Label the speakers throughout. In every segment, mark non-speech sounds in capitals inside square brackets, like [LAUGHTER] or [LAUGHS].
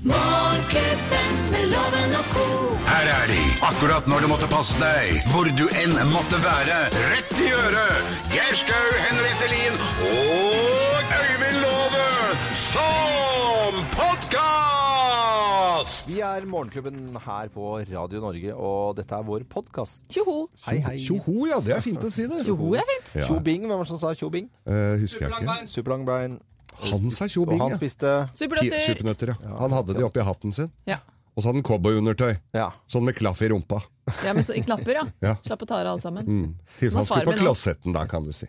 Speaker 1: Morgenklubben med loven og ko.
Speaker 2: Her er de, akkurat når du måtte passe deg, hvor du enn måtte være. Rett i øret! Geir Skau, Henriette Lien og Øyvind Låve som podkast!
Speaker 3: Vi er Morgenklubben her på Radio Norge, og dette er vår podkast.
Speaker 4: Tjoho.
Speaker 3: Hei, hei.
Speaker 5: Tjoho, ja. Det er fint å si det.
Speaker 4: Tjoho er fint.
Speaker 5: Ja.
Speaker 3: Tjo-bing, hvem var det som sa tjo-bing?
Speaker 5: Eh, husker jeg ikke.
Speaker 3: Superlangbein.
Speaker 5: Han sa
Speaker 3: Og
Speaker 5: tjobing,
Speaker 3: han
Speaker 5: ja.
Speaker 3: spiste
Speaker 5: Pi-
Speaker 4: Supernøtter.
Speaker 5: Supernøtter, ja. Han hadde de oppi hatten sin.
Speaker 4: Ja.
Speaker 5: Og så hadde han cowboyundertøy.
Speaker 3: Ja. [LAUGHS]
Speaker 5: Sånn med klaff i rumpa.
Speaker 4: ja, men så i knapper, ja.
Speaker 5: Ja.
Speaker 4: Slapp å ta av alle sammen.
Speaker 5: Fy,
Speaker 4: Som
Speaker 5: han
Speaker 4: var
Speaker 5: skulle
Speaker 4: faren
Speaker 5: på
Speaker 4: min
Speaker 5: klosetten da, kan du si.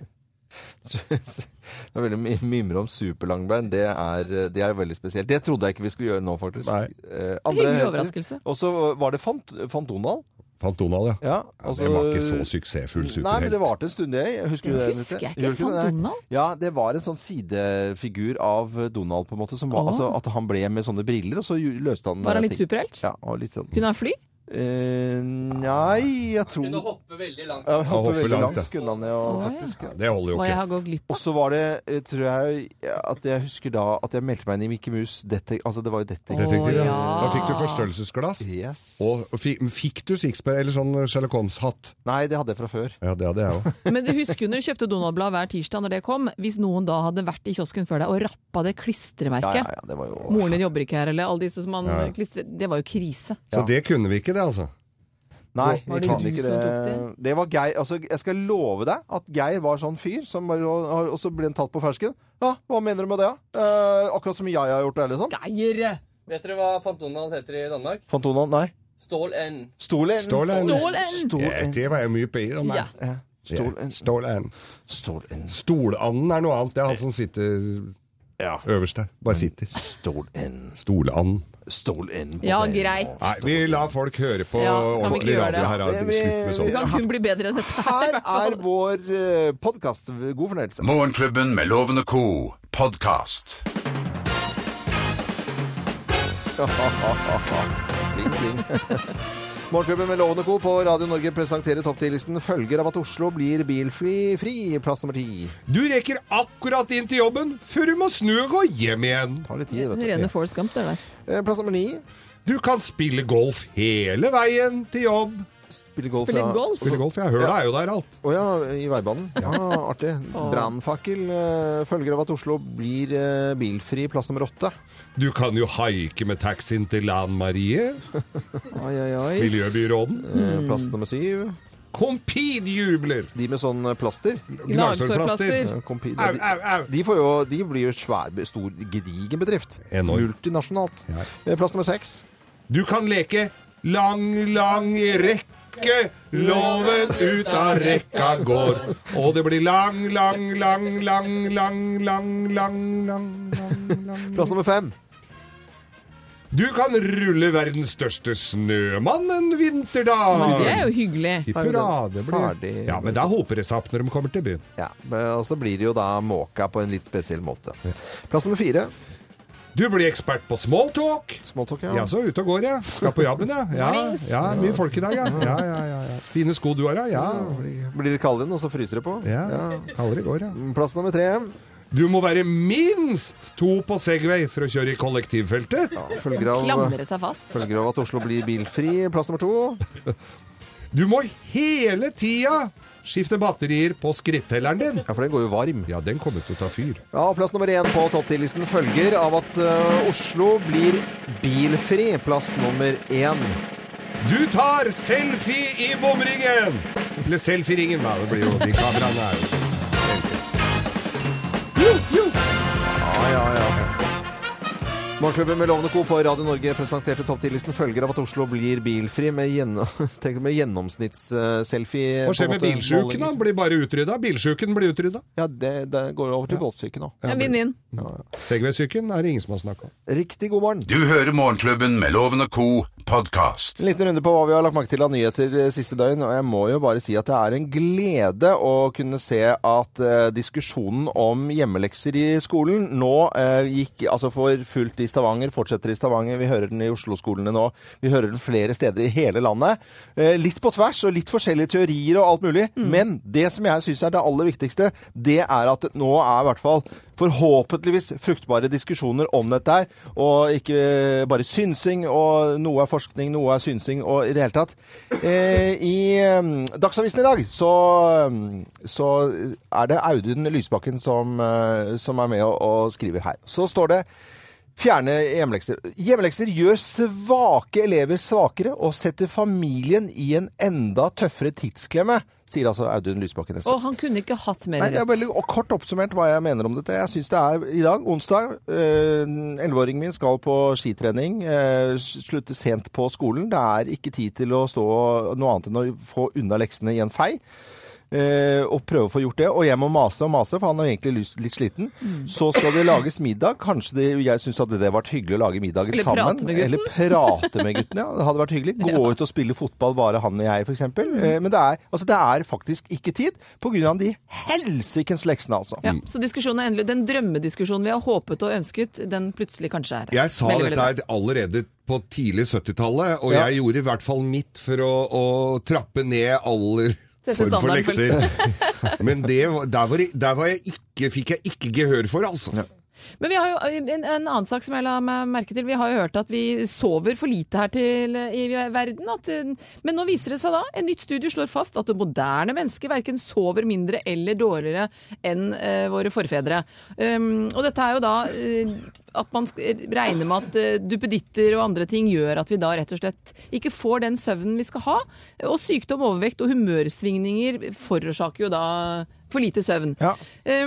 Speaker 3: Det er veldig my- mimre om superlangbein. Det er, eh, det er veldig spesielt. Det trodde jeg ikke vi skulle gjøre nå, faktisk.
Speaker 5: Nei.
Speaker 3: Eh,
Speaker 4: Hyggelig
Speaker 3: nyheter.
Speaker 4: overraskelse.
Speaker 3: Og så var det Fant, Fant Donald.
Speaker 5: Fant Donald, ja.
Speaker 3: Ja,
Speaker 5: ja det var ikke så suksessfull
Speaker 3: Nei, men det
Speaker 5: superhelt.
Speaker 3: varte en stund, det. Husker du det?
Speaker 4: Husker
Speaker 3: Henriette?
Speaker 4: jeg ikke.
Speaker 3: Gjør du
Speaker 4: Fant
Speaker 3: Nei.
Speaker 4: Donald?
Speaker 3: Ja, det var en sånn sidefigur av Donald, på en måte. Som
Speaker 4: Åh.
Speaker 3: var, altså, at han ble med sånne briller, og så ju- løste han
Speaker 4: Var han
Speaker 3: eh,
Speaker 4: litt
Speaker 3: ting.
Speaker 4: superhelt?
Speaker 3: Ja, og litt sånn
Speaker 4: Kunne han fly?
Speaker 3: Eh, nei, jeg tror
Speaker 6: Kunne hoppe veldig langt.
Speaker 3: Jeg hopper
Speaker 5: hopper
Speaker 3: veldig
Speaker 5: langt,
Speaker 3: langt,
Speaker 5: ja.
Speaker 3: kunne han det,
Speaker 4: Å,
Speaker 3: og
Speaker 4: ja.
Speaker 3: faktisk. Ja.
Speaker 5: Det holder jo
Speaker 4: Må jeg
Speaker 5: ikke.
Speaker 4: ha gått glipp av?
Speaker 3: Og så var det, eh, tror jeg, at jeg husker da at jeg meldte meg inn i Mikke Mus. Dette, altså, det var jo dette.
Speaker 4: Å,
Speaker 5: Detektiv, ja.
Speaker 4: ja.
Speaker 5: Da fikk du forstørrelsesglass.
Speaker 3: Yes.
Speaker 5: Og fi- fikk du sixpack eller sånn Sherlock Holmes-hatt?
Speaker 3: Nei, det hadde jeg fra før.
Speaker 5: Ja, det hadde jeg
Speaker 3: [LAUGHS]
Speaker 5: òg.
Speaker 4: Men husker du når du kjøpte Donald-blad hver tirsdag når det kom? Hvis noen da hadde vært i kiosken før deg og rappa det
Speaker 3: Ja, ja,
Speaker 4: klistremerket.
Speaker 3: ja, det var jo...
Speaker 4: Moren din jobber ikke her, eller alle disse som han
Speaker 5: Ja, ja.
Speaker 4: klistrer Det var jo krise.
Speaker 5: Så det kunne vi ikke, det, altså.
Speaker 3: Nei,
Speaker 4: Var
Speaker 3: vi
Speaker 4: det
Speaker 3: kan
Speaker 4: du
Speaker 3: ikke
Speaker 4: som
Speaker 3: det.
Speaker 4: tok
Speaker 3: Det var Geir, altså jeg skal love deg at Geir var sånn fyr som bare, og og så ble han tatt på fersken. Ja, hva mener du med det? da? Eh, akkurat som jeg har gjort det, eller sånn.
Speaker 4: Geir!
Speaker 6: Vet dere hva Fantonald heter i Danmark?
Speaker 3: Fantona, nei.
Speaker 6: Stål N.
Speaker 3: Stolen.
Speaker 5: Stålen.
Speaker 4: Stålen!
Speaker 3: Stol-
Speaker 5: Ja, det var jeg mye på i. da, men-
Speaker 4: Ja.
Speaker 3: Ja,
Speaker 5: Ja,
Speaker 3: Stolen.
Speaker 5: Stålen.
Speaker 3: Stolen.
Speaker 5: Stolanden er noe annet. Det er han som sitter øverst der. Bare sitter.
Speaker 3: Stolen.
Speaker 5: Stolanden.
Speaker 3: Stolen. på
Speaker 4: Ja,
Speaker 3: veien.
Speaker 4: greit.
Speaker 5: Nei, vi lar folk høre på
Speaker 4: Ja, kan vi ikke
Speaker 5: ordentlig
Speaker 4: gjøre
Speaker 5: radio
Speaker 4: det?
Speaker 5: her.
Speaker 3: Ja,
Speaker 5: Har
Speaker 3: vi-
Speaker 5: vi slutt med
Speaker 4: Det
Speaker 5: sånt.
Speaker 4: kan kunne bli bedre enn dette.
Speaker 3: Her er vår eh, podkast. God fornøyelse. [LAUGHS]
Speaker 2: Morgenklubben med Loven og Co. podkast.
Speaker 3: Kling, kling. [LAUGHS] Morgenklubben med Loven og Co. på Radio Norge presenterer topptillisten. Følger av at Oslo blir bilfri fri, plass nummer ti.
Speaker 5: Du rekker akkurat inn til jobben før du må snu og gå hjem igjen.
Speaker 3: Tar litt tid,
Speaker 4: Den
Speaker 3: vet du.
Speaker 4: rene Forrest Gump, det der.
Speaker 3: Eh, Plass nummer ni.
Speaker 5: Du kan spille golf hele veien til jobb.
Speaker 3: Spiller golf.
Speaker 4: Spille
Speaker 3: ja.
Speaker 4: golf?
Speaker 5: Spille golf, ja. Høla er jo der alt.
Speaker 3: Å ja, i veibanen. Ja, [LAUGHS] artig. Brannfakkel. eh, Følger av at Oslo blir eh, bilfri, plass nummer åtte.
Speaker 5: Du kan jo haike med taxien til Lan Marie,
Speaker 4: Oi, oi, oi.
Speaker 5: miljøbyråden.
Speaker 3: Eh, Plass nummer syv.
Speaker 5: Compede jubler!
Speaker 3: De med sånn eh, plaster.
Speaker 5: Gnagsårplaster.
Speaker 4: Gnagsårplaster.
Speaker 3: eh, kompi-
Speaker 5: Au, au, au.
Speaker 3: De, får jo, de blir jo svær, stor, gedigen bedrift.
Speaker 5: Enorm.
Speaker 3: Multinasjonalt.
Speaker 5: Ja.
Speaker 3: Eh, Plass nummer seks.
Speaker 5: Du kan leke lang, lang rekke. Loven ut av rekka går. Og det blir lang, lang, lang, lang, lang, lang, lang, lang, lang, lang.
Speaker 3: Plass nummer fem.
Speaker 5: Du kan rulle verdens største snømann en vinterdag.
Speaker 4: Det er jo hyggelig.
Speaker 5: Hipp hurra, det
Speaker 3: Ferdig.
Speaker 5: blir Ja, men da hoper det seg opp når de kommer til byen.
Speaker 3: Ja, men- Og så blir det jo da måka på en litt spesiell måte. Plass nummer fire.
Speaker 5: Du blir ekspert på smalltalk.
Speaker 3: Smalltalk,
Speaker 5: Ja,
Speaker 3: ja.
Speaker 5: så ute og går, jeg. Skal på jobben, jeg. Ja, ja, mye folk i dag, ja. Ja, ja, ja, ja. Fine sko du har, ja. ja.
Speaker 3: Blir det kald inn, og så fryser det på.
Speaker 5: Ja, kaldere går, ja.
Speaker 3: Plass nummer tre.
Speaker 5: Du må være minst to på Segway for å kjøre i kollektivfeltet.
Speaker 3: Følger av, eh,
Speaker 4: Klamre seg fast.
Speaker 3: følger av at Oslo blir bilfri. Plass nummer to.
Speaker 5: Du må hele tida skifte batterier på skrittelleren din.
Speaker 3: Ja, for den går jo varm.
Speaker 5: Ja, den kommer til å ta fyr.
Speaker 3: Ja, og Plass nummer én på topptillisten følger av at eh, Oslo blir bilfri. Plass nummer én.
Speaker 5: Du tar selfie i bomringen! Eller selfieringen, da. Det blir jo de kameraene er jo selfie. Jo, jo.
Speaker 3: Ja, ja, ja. Morgenklubben med Lovende Co. på Radio Norge presenterte topptillisten følger av at Oslo blir bilfri med, gjennom, [LAUGHS] tenk med gjennomsnittsselfie.
Speaker 5: Hva skjer
Speaker 3: på en
Speaker 5: med
Speaker 3: måte,
Speaker 5: bilsjuken?
Speaker 3: målinger.
Speaker 5: da? Blir bare utrydda? Bilsjuken blir utrydda.
Speaker 3: Ja, det, det går over til båtsyke nå.
Speaker 4: En vinn-vinn.
Speaker 5: Segway-syken er det ingen som har snakka om.
Speaker 3: Riktig god morgen.
Speaker 2: Du hører Morgenklubben med Loven og Co. podkast.
Speaker 3: En liten runde på hva vi har lagt merke til av nyheter eh, siste døgn, og jeg må jo bare si at det er en glede å kunne se at eh, diskusjonen om hjemmelekser i skolen nå eh, gikk altså for fullt i Stavanger, fortsetter i Stavanger, vi hører den i Oslo-skolene nå, vi hører den flere steder i hele landet. Eh, litt på tvers og litt forskjellige teorier og alt mulig, men det som jeg syns er det aller viktigste, det er at nå er i hvert fall forhåpentligvis fruktbare diskusjoner om dette her, og ikke eh, bare synsing, og noe er forskning, noe er synsing, og i det hele tatt. Eh, I eh, Dagsavisen i dag så, eh, så er det Audun Lysbakken som, eh, som er med og, og skriver her. Så står det Fjerne hjemmelekser. Hjemmelekser gjør svake elever svakere og setter familien i en enda tøffere tidsklemme, sier altså Audun Lysbakken. neste år.
Speaker 4: Og han kunne ikke hatt mer
Speaker 3: Nei, jeg
Speaker 4: rett.
Speaker 3: har veldig og kort oppsummert hva jeg mener om dette. Jeg syns det er i dag, onsdag. øh, Elleveåringen min skal på skitrening. øh, Slutter sent på skolen. Det er ikke tid til å stå noe annet enn å få unna leksene i en fei. øh, og prøve å få gjort det. Og jeg må mase og mase, for han er egentlig lyst- litt sliten.
Speaker 4: Mm.
Speaker 3: Så skal det lages middag. Kanskje det, jeg syns at det hadde vært hyggelig å lage middagen
Speaker 4: Eller
Speaker 3: sammen.
Speaker 4: prate med gutten.
Speaker 3: Eller prate med guttene. Ja. Det hadde vært hyggelig. Gå ut og spille fotball, bare han og jeg, f.eks. Men det er, altså, det er faktisk ikke tid pga. de helsikens leksene, altså.
Speaker 4: Ja, så diskusjonen er endelig. Den drømmediskusjonen vi har håpet og ønsket, den plutselig kanskje er her.
Speaker 5: Jeg sa
Speaker 4: Veldig,
Speaker 5: dette
Speaker 4: veldig bra.
Speaker 5: her allerede på tidlig 70-tallet, og
Speaker 3: Ja.
Speaker 5: jeg gjorde i hvert fall mitt for å, å trappe ned aller
Speaker 4: Sette
Speaker 5: form for
Speaker 4: standarden for- [LAUGHS]
Speaker 5: lekser. Men det, var- der, var, jeg- der var jeg ikke, fikk jeg ikke gehør for, altså.
Speaker 4: Men vi har jo en, en annen sak som jeg la meg merke til. Vi har jo hørt at vi sover for lite her til, i verden. At, eh, men nå viser det seg da, en nytt studie slår fast at det moderne mennesket verken sover mindre eller dårligere enn eh, våre forfedre. Um, og dette er jo da eh, at man sk- regner med at eh, duppeditter og andre ting gjør at vi da rett og slett ikke får den søvnen vi skal ha. Og sykdom, overvekt og humørsvingninger forårsaker jo da for lite søvn.
Speaker 3: Ja.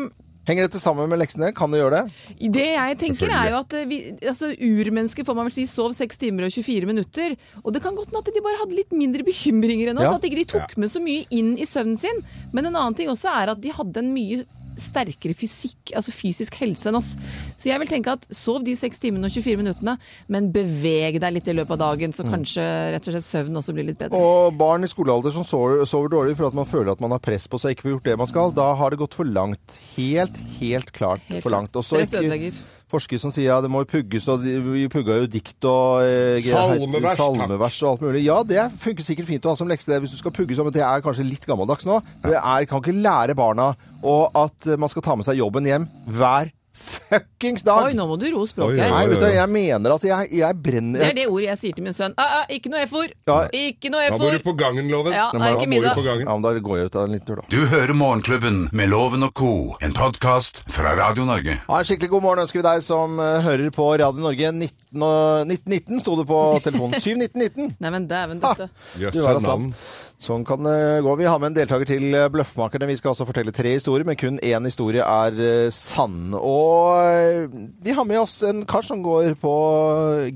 Speaker 4: Um,
Speaker 3: Henger dette sammen med leksene? Kan du gjøre det?
Speaker 4: det jeg tenker er jo at eh, vi, altså, urmennesker får man vel si sov 6 timer og 24 minutter. Og det kan godt hende at de bare hadde litt mindre bekymringer enn oss.
Speaker 3: Ja.
Speaker 4: At ikke de tok med så mye inn i søvnen sin. Men en annen ting også er at de hadde en mye sterkere fysikk, altså fysisk helse enn oss. Så jeg vil tenke at sov de 6 timene og 24 minuttene, men beveg deg litt i løpet av dagen,
Speaker 5: Mm.
Speaker 4: så kanskje rett og slett søvnen også blir litt bedre.
Speaker 3: Og barn i skolealder som sover, sover dårlig fordi at man føler at man har press på seg og ikke får gjort det man skal, da har det gått for langt. Helt, helt klart
Speaker 4: Helt
Speaker 3: for langt.
Speaker 4: klart.
Speaker 3: Og så
Speaker 4: Stress ødelegger.
Speaker 3: ikke forskere som sier ja, det må jo pugges, og de- vi pugga jo dikt og eh, greier-
Speaker 5: Salmevers, takk.
Speaker 3: salmevers og alt mulig. Ja, det funker sikkert fint å ha som lekse det hvis du skal pugge sånn, men det er kanskje litt gammeldags nå. Det er, kan ikke lære barna og at eh, man skal ta med seg jobben hjem hver fuckings dag.
Speaker 4: Oi, nå må du roe
Speaker 5: Oi,
Speaker 4: språket.
Speaker 5: oi,
Speaker 4: her.
Speaker 3: Nei, vet du, jeg mener altså, jeg, jeg brenner
Speaker 4: Det er det ordet jeg sier til min sønn. Ah, ah, ikke noe F-ord!
Speaker 3: Ja.
Speaker 4: Ikke noe
Speaker 5: Da må du
Speaker 4: F-ord!
Speaker 5: på gangen, Loven.
Speaker 4: Ja, det er
Speaker 5: da
Speaker 4: ikke
Speaker 5: må du
Speaker 4: middag.
Speaker 5: på gangen.
Speaker 3: Ja, men da går jeg ut av en liten tur, da.
Speaker 2: Du hører Morgenklubben med Loven og co., en podkast fra Radio Norge.
Speaker 3: Ha en skikkelig god morgen ønsker vi deg som eh, hører på Radio Norge 19 og 1919, sto det på telefonen. 71919.
Speaker 4: Nei, men dæven døtte.
Speaker 5: Jøss,
Speaker 3: Du er
Speaker 5: et navn.
Speaker 3: altså- Sånn kan det gå. Vi har med en deltaker til eh, Bløffmakerne. Vi skal også fortelle tre historier, men kun én historie er eh, sann. Og eh, vi har med oss en kar som går på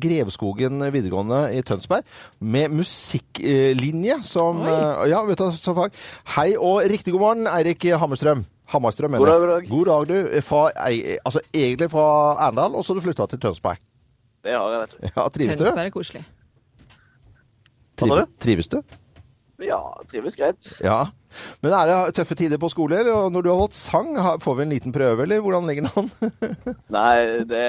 Speaker 3: Greveskogen videregående i Tønsberg, med musikklinje som
Speaker 4: Oi.
Speaker 3: eh, Ja, vet du hva som fag. Hei og riktig god morgen, Eirik Hammerstrøm. Hammerstrøm, mener jeg.
Speaker 7: God dag,
Speaker 3: God dag, du. Fra, ei- altså egentlig fra Arendal, og så har du flytta til Tønsberg. [LAUGHS]
Speaker 7: Det har jeg, vet du.
Speaker 3: Ja, trives du?
Speaker 4: Tønsberg er koselig.
Speaker 7: Hva sa du?
Speaker 3: Trives du?
Speaker 7: Ja, trives greit.
Speaker 3: Ja. Men er det tøffe tider på skole, eller Og når du har holdt sang? har- Får vi en liten prøve, eller hvordan legger den an? [LAUGHS]
Speaker 7: Nei, det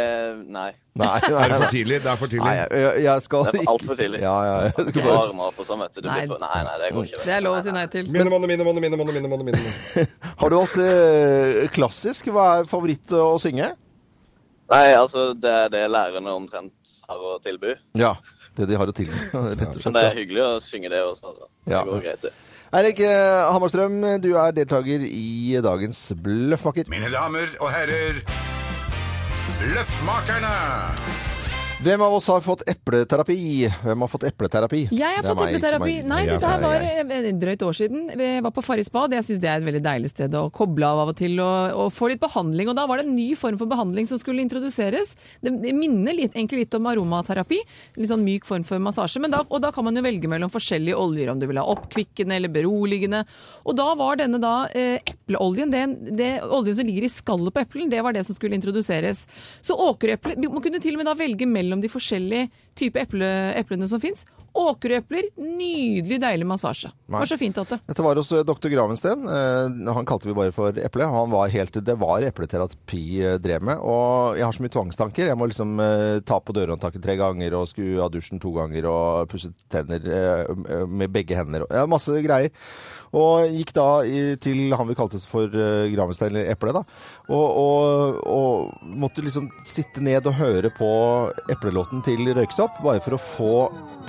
Speaker 7: Nei.
Speaker 3: Nei,
Speaker 5: Er
Speaker 3: nei,
Speaker 5: det for
Speaker 3: nei.
Speaker 5: tidlig? Det er for tidlig.
Speaker 3: Nei, jeg, jeg skal
Speaker 7: Det er for alt for tidlig.
Speaker 3: Ja, ja. Jeg skal
Speaker 7: Ikke
Speaker 3: bare...
Speaker 7: armer på sånn, vet du. du
Speaker 4: Nei.
Speaker 7: blir for... nei, nei, det går ikke. vet du.
Speaker 4: Det er lov å si
Speaker 7: Nei,
Speaker 4: nei til.
Speaker 5: Minne, manne, minne, manne, minne, manne, minne, manne, minne.
Speaker 3: Har du valgt eh, klassisk? Hva er favoritt å synge?
Speaker 7: nei. Nei, altså, det er det lærerne omtrent har å tilby.
Speaker 3: Ja. Det de har å tilby, [LAUGHS] rett og
Speaker 7: Men det er
Speaker 3: slett.
Speaker 7: hyggelig å synge det også, altså.
Speaker 3: Ja.
Speaker 7: Det går greit, det.
Speaker 3: ja. Eirik eh, Hammarstrøm, du er deltaker i dagens Bløffmaker.
Speaker 2: Mine damer og herrer, Løffmakerne!
Speaker 3: Hvem av oss har fått epleterapi? Hvem har fått epleterapi?
Speaker 4: Jeg har
Speaker 3: Det er
Speaker 4: fått
Speaker 3: meg som
Speaker 4: hypnoterapi.
Speaker 3: er-
Speaker 4: Nei,
Speaker 3: Ja,
Speaker 4: dette her
Speaker 3: det er
Speaker 4: var
Speaker 3: jeg.
Speaker 4: eh, et drøyt år siden. Vi var på Farris bad. Jeg syns det er et veldig deilig sted å koble av av og til og, og få litt behandling. Og da var det en ny form for behandling som skulle introduseres. Det minner litt, egentlig litt om aromaterapi. Litt sånn myk form for massasje. Men da, og da kan man jo velge mellom forskjellige oljer, om du vil ha oppkvikkende eller beroligende. Og da var denne da eh, epleoljen, det, det oljen som ligger i skallet på eplen, det var det som skulle introduseres. Så åkereplet Vi må kunne til og med da velge mellom mellom de forskjellige typer eple, eplene som fins. Åkerøpler, nydelig deilig massasje. Det var så fint at det.
Speaker 3: Dette var hos eh, dr. Gravensten. Eh, Han kalte vi bare for eple. Han var helt, det var epleterapi eh, drev med. Og jeg har så mye tvangstanker. Jeg må liksom eh, ta på dørhåndtaket tre ganger og skru av dusjen to ganger og pusse tenner eh, med begge hender. Ja, masse greier. Og gikk da i, til han vi kalte for eh, Gravenstein, eller Eple, da. Og, og, og måtte liksom sitte ned og høre på eplelåten til Røyksopp, bare for å få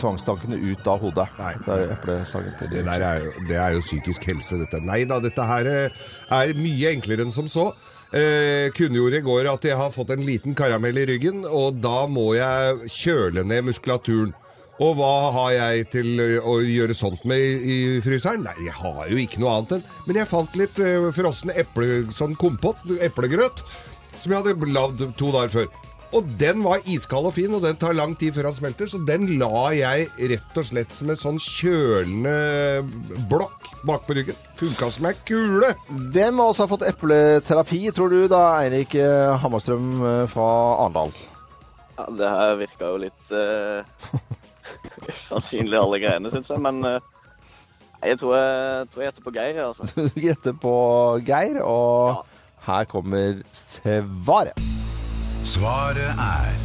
Speaker 3: tvangstankene ut av hodet.
Speaker 5: Nei.
Speaker 3: Det er jo eplesangen til
Speaker 5: Det,
Speaker 3: Røyksopp.
Speaker 5: der er, jo- det er jo psykisk helse, dette. Nei da, dette her eh, er mye enklere enn som så. Eh, kunngjorde i går at jeg har fått en liten karamell i ryggen, og da må jeg kjøle ned muskulaturen. Og hva har jeg til eh, å gjøre sånt med i, i fryseren? Nei, jeg har jo ikke noe annet enn Men jeg fant litt eh, frossen eple, sånn kompott, eplegrøt, som jeg hadde lagd to dager før. Og den var iskald og fin, og den tar lang tid før han smelter, så den la jeg rett og slett som en sånn kjølende blokk bak på ryggen. Funka som ei kule!
Speaker 3: Hvem av oss har fått epleterapi, tror du da, Eirik eh, Hammarstrøm eh, fra Arendal? [LAUGHS]
Speaker 7: Ja, det her virka jo litt eh, [LAUGHS] usannsynlig, alle greiene, syns jeg. Men eh, nei, jeg tror jeg tror jeg gjetter på Geir, jeg, altså.
Speaker 3: Du gjetter på Geir, og her kommer svaret.
Speaker 2: Svaret er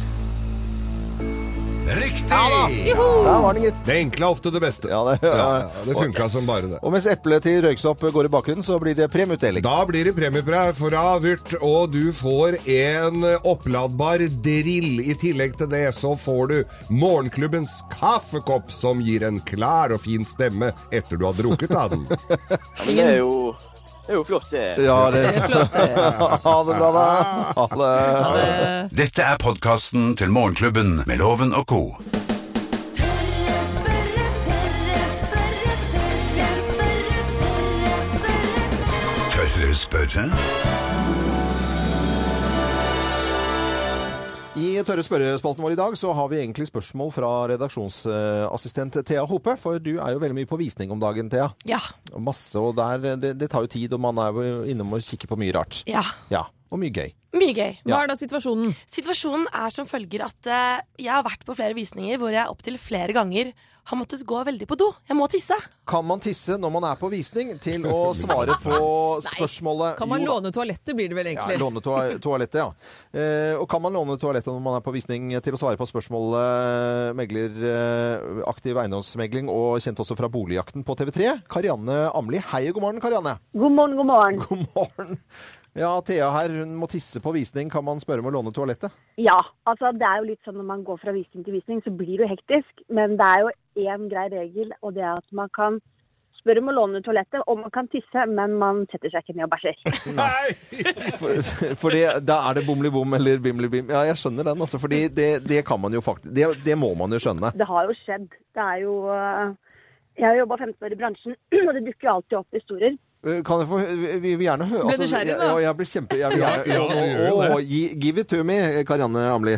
Speaker 2: Riktig!
Speaker 3: Der var den, gitt.
Speaker 5: Det enkle er ofte det beste.
Speaker 3: Ja, det-
Speaker 5: det funka som bare det.
Speaker 3: Og mens eplet til Røyksopp går i bakgrunnen, så blir det premieutdeling.
Speaker 5: Da blir det premie fra- fra Vyrt, og du får en oppladbar drill. I tillegg til det så får du morgenklubbens kaffekopp, som gir en klar og fin stemme etter du har drukket av den.
Speaker 7: Ja, men det er jo, det er jo flott, det.
Speaker 3: Ja, det [LAUGHS] Ha det bra, da. Ha det.
Speaker 4: Eh,
Speaker 2: Dette er podkasten til Morgenklubben med Loven og co.
Speaker 1: Tørre spørre, tørre spørre, tørre spørre, tørre spørre.
Speaker 2: Tørre spørre?
Speaker 3: I tørre spørrespalten vår i dag så har vi egentlig spørsmål fra redaksjonsassistent Thea Hope, for du er jo veldig mye på visning om dagen, Thea.
Speaker 8: Ja.
Speaker 3: Og Masse, og der, det, det tar jo tid, og man er jo innom og kikker på mye rart.
Speaker 8: ja.
Speaker 3: Ja, og mye gøy.
Speaker 8: Mye gøy.
Speaker 4: Hva er da situasjonen?
Speaker 8: Situasjonen er som følger at eh, jeg har vært på flere visninger hvor jeg opptil flere ganger har måttet gå veldig på do. Jeg må tisse.
Speaker 3: Kan man tisse når man er på visning til å svare [LAUGHS] på spørsmålet?
Speaker 4: Kan man
Speaker 3: Jo da.
Speaker 4: låne toalettet, blir det vel
Speaker 3: Ja,
Speaker 4: egentlig.
Speaker 3: låne toa- toalettet, ja. Eh, og kan man låne toalettet når man er på visning til å svare på spørsmålet eh, megler, eh, aktiv eiendomsmegling og kjent også fra Boligjakten på TV3? Karianne Amli. Hei og god morgen, Karianne.
Speaker 9: God morgen, god morgen.
Speaker 3: [LAUGHS] God morgen. Ja, Thea her, hun må tisse på visning. Kan man spørre om å låne toalettet?
Speaker 9: Ja, altså det er jo litt sånn når man går fra visning til visning, så blir det jo hektisk. Men det er jo én grei regel, og det er at man kan spørre om å låne toalettet, og man kan tisse, men man setter seg ikke ned og bæsjer.
Speaker 3: For, fordi da er det bomli-bom eller bimli-bim. Ja, jeg skjønner den, altså. Fordi det, det kan man jo faktisk det, det må man jo skjønne.
Speaker 9: Det har jo skjedd. Det er jo øh, Jeg har jobba 15 år i bransjen, [CLEARS THROAT] og det dukker jo alltid opp historier.
Speaker 3: Uh, Kan jeg få hø- Vi vil gjerne høre altså,
Speaker 4: Ble nysgjerrig,
Speaker 3: jeg,
Speaker 4: da?
Speaker 3: ja, jeg blir kjempe... Jeg vil gjerne,
Speaker 5: Ja, ja, du gjør jo det.
Speaker 3: Å, gi- give it to me, Karianne Amli.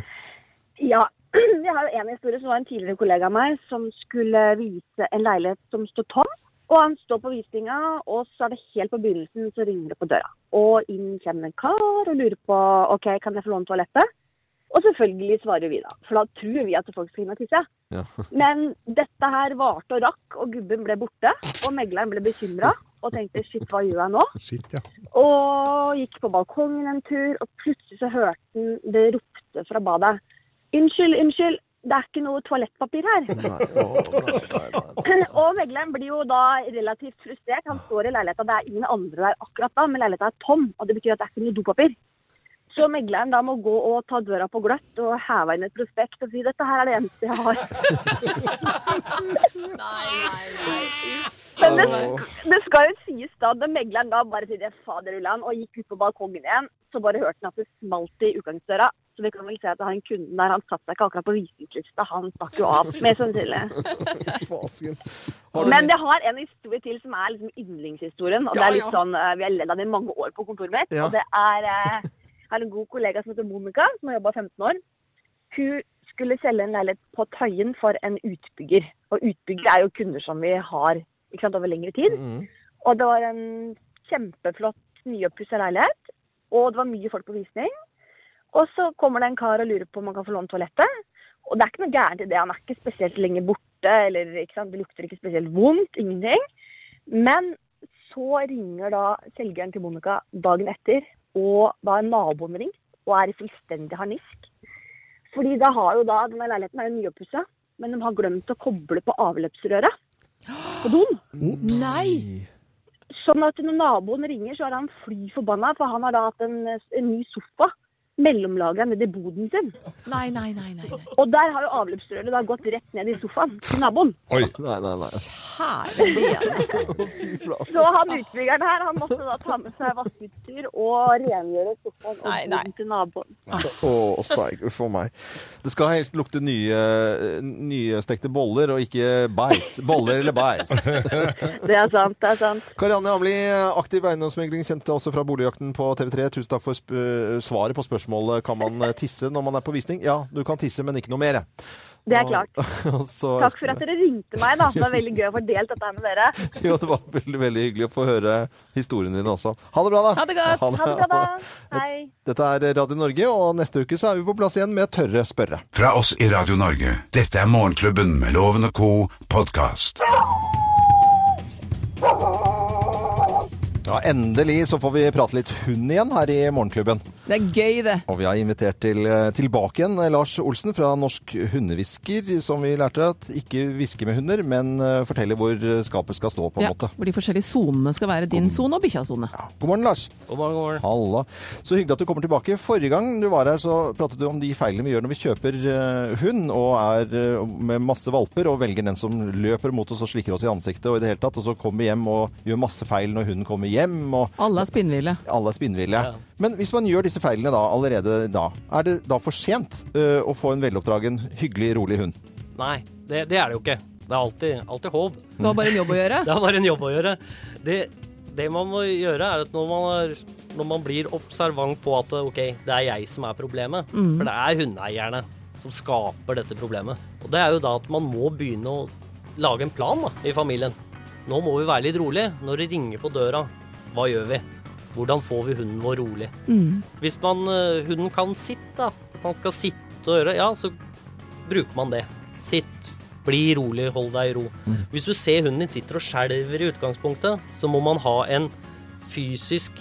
Speaker 9: Ja, [CLEARS THROAT] jeg har jo en historie som var en tidligere kollega av meg som skulle vise en leilighet som står tom. Og han står på visninga, og så er det helt på begynnelsen så ringer det på døra. Og inn kommer en kar og lurer på ok, kan jeg få låne toalettet. Og selvfølgelig svarer vi da, for da tror vi at folk skal inn og tisse.
Speaker 5: [LAUGHS]
Speaker 3: Ja.
Speaker 9: Men dette her varte og rakk, og gubben ble borte. Og megleren ble bekymra og tenkte shit, hva gjør jeg nå?
Speaker 5: [LAUGHS] Shit, ja.
Speaker 9: Og gikk på balkongen en tur, og plutselig så hørte han det ropte fra badet. Unnskyld, unnskyld, det er ikke noe toalettpapir her.
Speaker 3: Nei, å, nei, nei, nei.
Speaker 9: [CLEARS THROAT] og megleren blir jo da relativt frustrert. Han står i leiligheta, det er ingen andre der akkurat da, men leiligheta er tom, og det betyr at det er ikke noe dopapir. Så megleren da må gå og ta døra på gløtt og heve inn et prospekt og si dette her er det eneste jeg har. Men det, det skal jo sies da, da megleren da bare sier faderullan og gikk ut på balkongen igjen, så bare hørte han at det smalt i utgangsdøra. Så vi kan vel si at han kunden der, han satt seg ikke akkurat på visningslista, han stakk jo av, mest sannsynlig.
Speaker 3: Fasken.
Speaker 9: Men jeg har en historie til som er liksom yndlingshistorien, og det er litt sånn, eh, vi har ledd av det i mange år på kontoret mitt,
Speaker 3: Ja.
Speaker 9: og det er, eh, jeg har en god kollega som heter Monica, som har jobbet 15 år. Hun skulle selge en leilighet på Tøyen for en utbygger, og utbygger er jo kunder som vi har, ikke sant, over lengre tid.
Speaker 3: Mm.
Speaker 9: Og det var en kjempeflott nyoppussa leilighet. Og det var mye folk på visning. Og så kommer det en kar og lurer på om han kan få låne toalettet. Og det er ikke noe gærent i det. Han er ikke spesielt lenge borte, eller ikke sant? det lukter ikke spesielt vondt. Ingenting. Men så ringer da selgeren til Monica dagen etter, og da er naboen ringt og er i fullstendig harnisk. Fordi da har jo da, denne leiligheten er jo nyoppussa, men de har glemt å koble på avløpsrøret på doen.
Speaker 4: Nei!
Speaker 9: Sånn at når naboen ringer, så er han fly forbanna, for han har da hatt en, en ny sofa mellomlaga nedi boden sin.
Speaker 4: Nei, nei, nei. nei, nei.
Speaker 9: Og der har jo avløpsrøret da gått rett ned i sofaen til naboen.
Speaker 5: Oi.
Speaker 3: Nei, nei, nei.
Speaker 4: Kjære vene.
Speaker 3: Fy flate.
Speaker 9: Så han utbyggeren her, han måtte da ta med seg vaskeutstyr og rengjøre sofaen og
Speaker 4: Nei, nei.
Speaker 9: boden til naboen.
Speaker 3: Å, steik. Uff a meg. Det skal helst lukte nye, nystekte boller, og ikke beis. Boller eller beis.
Speaker 9: Det er sant, det er sant.
Speaker 3: Karianne Hamli, aktiv eiendomsmegling, kjent deg også fra Boligjakten på TV3. Tusen takk for sp eh, svaret på spørsmålet kan man tisse når man er på visning. Ja, du kan tisse, men ikke noe mer.
Speaker 9: Det er
Speaker 3: [LAUGHS]
Speaker 9: klart.
Speaker 3: Så-
Speaker 9: Takk for at dere ringte meg, da. Det var veldig gøy å få delt dette her med dere.
Speaker 3: [LAUGHS] Jo, det var veldig, veldig hyggelig å få høre historien din også. Ha det bra, da.
Speaker 4: Ha det godt.
Speaker 9: Ha det
Speaker 3: [LAUGHS]
Speaker 9: bra, da. Hei.
Speaker 3: Dette er Radio Norge, og neste uke så er vi på plass igjen med Tørre spørre.
Speaker 2: Fra oss i Radio Norge. Dette er Morgenklubben med Loven og Co. podkast.
Speaker 3: Ja, Endelig så får vi prate litt hund igjen her i Morgenklubben.
Speaker 4: Det er gøy, det.
Speaker 3: Og vi har invitert til, eh, tilbake igjen Lars Olsen fra Norsk Hundehvisker, som vi lærte at ikke hvisker med hunder, men eh, forteller hvor skapet skal stå, på en
Speaker 4: Ja,
Speaker 3: måte.
Speaker 4: hvor de forskjellige sonene skal være. Din sone og bikkjas sone.
Speaker 3: Ja. God morgen, Lars.
Speaker 6: God morgen, god morgen.
Speaker 3: Halla. Så hyggelig at du kommer tilbake. Forrige gang du var her, så pratet du om de feilene vi gjør når vi kjøper eh, hund og er eh, med masse valper og velger den som løper mot oss og slikker oss i ansiktet og i det hele tatt, og så kommer vi hjem og gjør masse feil når hunden kommer hjem, og
Speaker 4: Alle er spinnville.
Speaker 3: alle er spinnville. Men hvis man gjør disse feilene da, allerede da, er det da for sent eh, å få en veloppdragen, hyggelig, rolig hund?
Speaker 10: Nei, det, det er det jo ikke. Det er alltid, alltid håp.
Speaker 4: Du har bare en jobb å gjøre.
Speaker 10: Det er bare en jobb å gjøre. Det, det man må gjøre, er at når man, er, når man blir observant på at OK, det er jeg som er problemet. For det er hundeeierne som skaper dette problemet. Og det er jo da at man må begynne å lage en plan da, i familien. Nå må vi være litt rolig. Når det ringer på døra, hva gjør vi? Hvordan får vi hunden vår rolig?
Speaker 4: Mm.
Speaker 10: Hvis man, eh, hunden kan sitte, da, at han skal sitte og gjøre, ja, så bruker man det. Sitt, bli rolig, hold deg i ro. Hvis du ser hunden din sitter og skjelver i utgangspunktet, så må man ha en fysisk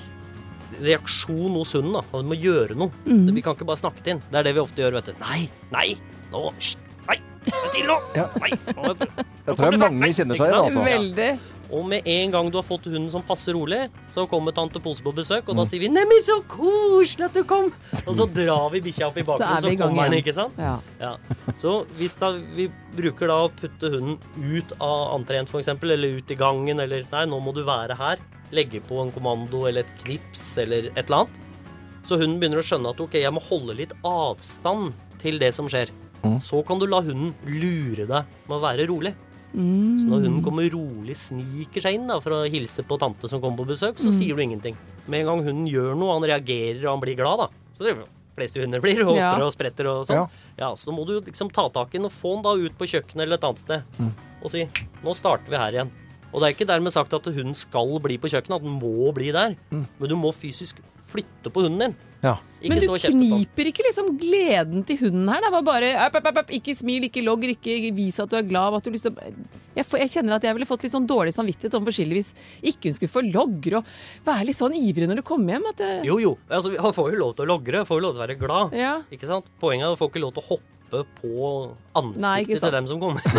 Speaker 10: reaksjon hos hunden. da. Han må gjøre noe.
Speaker 4: Mhm.
Speaker 10: Vi kan ikke bare snakke til den. Det er det vi ofte gjør, vet du. Nei, nei, nå, hysj, nei, vær stille nå.
Speaker 3: Ja.
Speaker 10: Nei, nå er det-
Speaker 3: Jeg tror det er mange kjenner seg igjen, altså.
Speaker 4: Veldig.
Speaker 10: og med en gang du har fått hunden som passer rolig, så kommer tante Pose på besøk, og da sier vi 'Neimen, så koselig at du kom!' Og så drar vi bikkja opp i
Speaker 4: Så er
Speaker 10: bakgrunnen, så,
Speaker 4: vi i gang
Speaker 10: kommer den,
Speaker 4: igjen.
Speaker 10: ikke sant?
Speaker 4: Ja.
Speaker 10: Ja. Så hvis da vi bruker da å putte hunden ut av entreen, for eksempel, eller ut i gangen, eller 'Nei, nå må du være her', legge på en kommando eller et knips eller et eller annet, så hunden begynner å skjønne at 'OK, jeg må holde litt avstand til det som skjer'. Så kan du la hunden lure deg med å være rolig.
Speaker 4: Mm.
Speaker 10: Så når hunden kommer rolig, sniker seg inn da, for å hilse på tante som kommer på besøk, så sier du ingenting. Med en gang hunden gjør noe, han reagerer og han blir glad, da. Så det er jo de fleste hunder blir, og
Speaker 4: Ja.
Speaker 10: hopper og spretter og sånn. Ja. så må du jo liksom ta tak i den og få den da ut på kjøkkenet eller et annet sted. Og si 'nå starter vi her igjen'. Og det er ikke dermed sagt at hunden skal bli på kjøkkenet, at den må bli der. Men du må fysisk flytte på hunden din.
Speaker 3: Ja.
Speaker 10: Ikke
Speaker 4: Men du
Speaker 10: stå og kjefte på den.
Speaker 4: kniper ikke liksom gleden til hunden her? Det var bare app, app, app, app, ikke smil, ikke logg, ikke vis at du er glad. At du liksom, jeg, får, jeg kjenner at jeg ville fått litt sånn dårlig samvittighet overfor Silje hvis ikke hun skulle få logre og være litt sånn ivrig når du kommer hjem. At det,
Speaker 10: Jo, jo. Altså, han får jo lov til å logre, får jo lov til å være glad.
Speaker 4: Ja.
Speaker 10: Ikke sant? Poenget er at du får ikke lov til å hoppe på ansiktet
Speaker 4: Nei, ikke sant.
Speaker 10: til dem som kommer. Det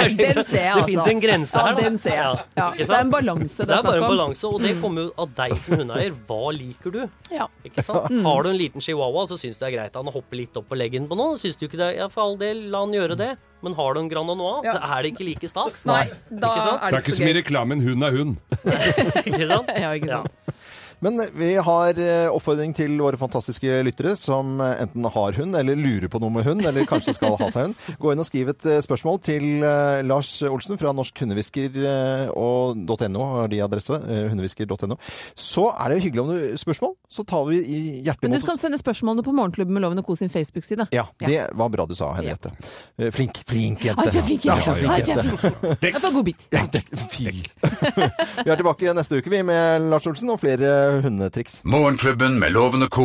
Speaker 10: er
Speaker 4: Den
Speaker 10: liksom-
Speaker 4: ser jeg,
Speaker 10: Det
Speaker 4: altså.
Speaker 10: fins en grense her.
Speaker 4: Ja,
Speaker 10: da.
Speaker 4: den ser jeg. Ja,
Speaker 10: ikke
Speaker 4: det er en
Speaker 10: sant?
Speaker 4: balanse
Speaker 10: Det
Speaker 4: det
Speaker 10: er
Speaker 4: er
Speaker 10: bare en
Speaker 4: snakk om.
Speaker 10: balanse, og det kommer jo av deg som hundeeier. Hva liker du?
Speaker 4: Ja.
Speaker 10: Ikke sant?
Speaker 4: Mm.
Speaker 10: Har du en liten chihuahua, så syns du det er greit at han hopper litt opp på leggen på noen. Syns du ikke det? Ja, for all del, la han gjøre det. Men har du en Grandanoa,
Speaker 4: Ja.
Speaker 10: så er det ikke like stas.
Speaker 4: Nei, da
Speaker 10: Ikke sant?
Speaker 4: er det
Speaker 5: Det er ikke så mye
Speaker 4: gøy.
Speaker 5: reklame, men hund er hund.
Speaker 10: [LAUGHS] Ikke sant?
Speaker 4: [LAUGHS] Ja, ikke sant.
Speaker 3: Men vi har eh, oppfordring til våre fantastiske lyttere som eh, enten har hund, eller lurer på noe med hund, eller kanskje skal ha seg hund. Gå inn og skriv et eh, spørsmål til eh, Lars Olsen fra Norsk Hundehvisker eh, og .no, har de adresse, eh, hundehvisker.no. Så er det hyggelig om du spørsmål, så tar vi i hjertet
Speaker 4: Men
Speaker 3: imot.
Speaker 4: du kan sende spørsmålene på Morgenklubben med Loven og Co sin Facebook-side.
Speaker 3: Ja, det var bra du sa, Henriette. Eh, Flink, flink jente.
Speaker 4: Ah, så flink jente.
Speaker 3: Ja, så flink
Speaker 4: Ah,
Speaker 3: jente.
Speaker 4: så flink. Jeg får godbit.
Speaker 3: Ja, det- Fy. [LAUGHS] Vi er tilbake neste uke vi med Lars Olsen og flere hundetriks.
Speaker 2: Morgenklubben med Loven og Co.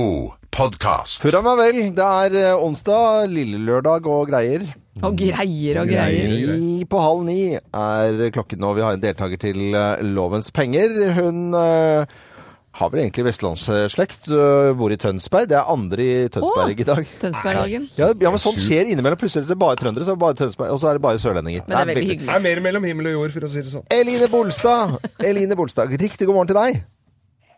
Speaker 2: podkast.
Speaker 3: Hurra meg vel. Det er eh, onsdag, lille lørdag og greier.
Speaker 4: Og greier og greier.
Speaker 3: Ni på halv ni er klokken, og vi har en deltaker til eh, Lovens penger. Hun eh, har vel egentlig vestlandsslekt, eh, bor i Tønsberg. Det er andre i Tønsberg i dag.
Speaker 4: Tønsbergdagen.
Speaker 3: Ja, ja, men sånt skjer innimellom. Plutselig er det bare trøndere, så er det bare Tønsberg, og så er det bare sørlendinger.
Speaker 4: Men det er veldig
Speaker 5: Det
Speaker 4: hyggelig.
Speaker 5: er mer mellom himmel og jord, for å si det sånn.
Speaker 3: Eline Bolstad, Eline Bolstad, riktig god morgen til deg.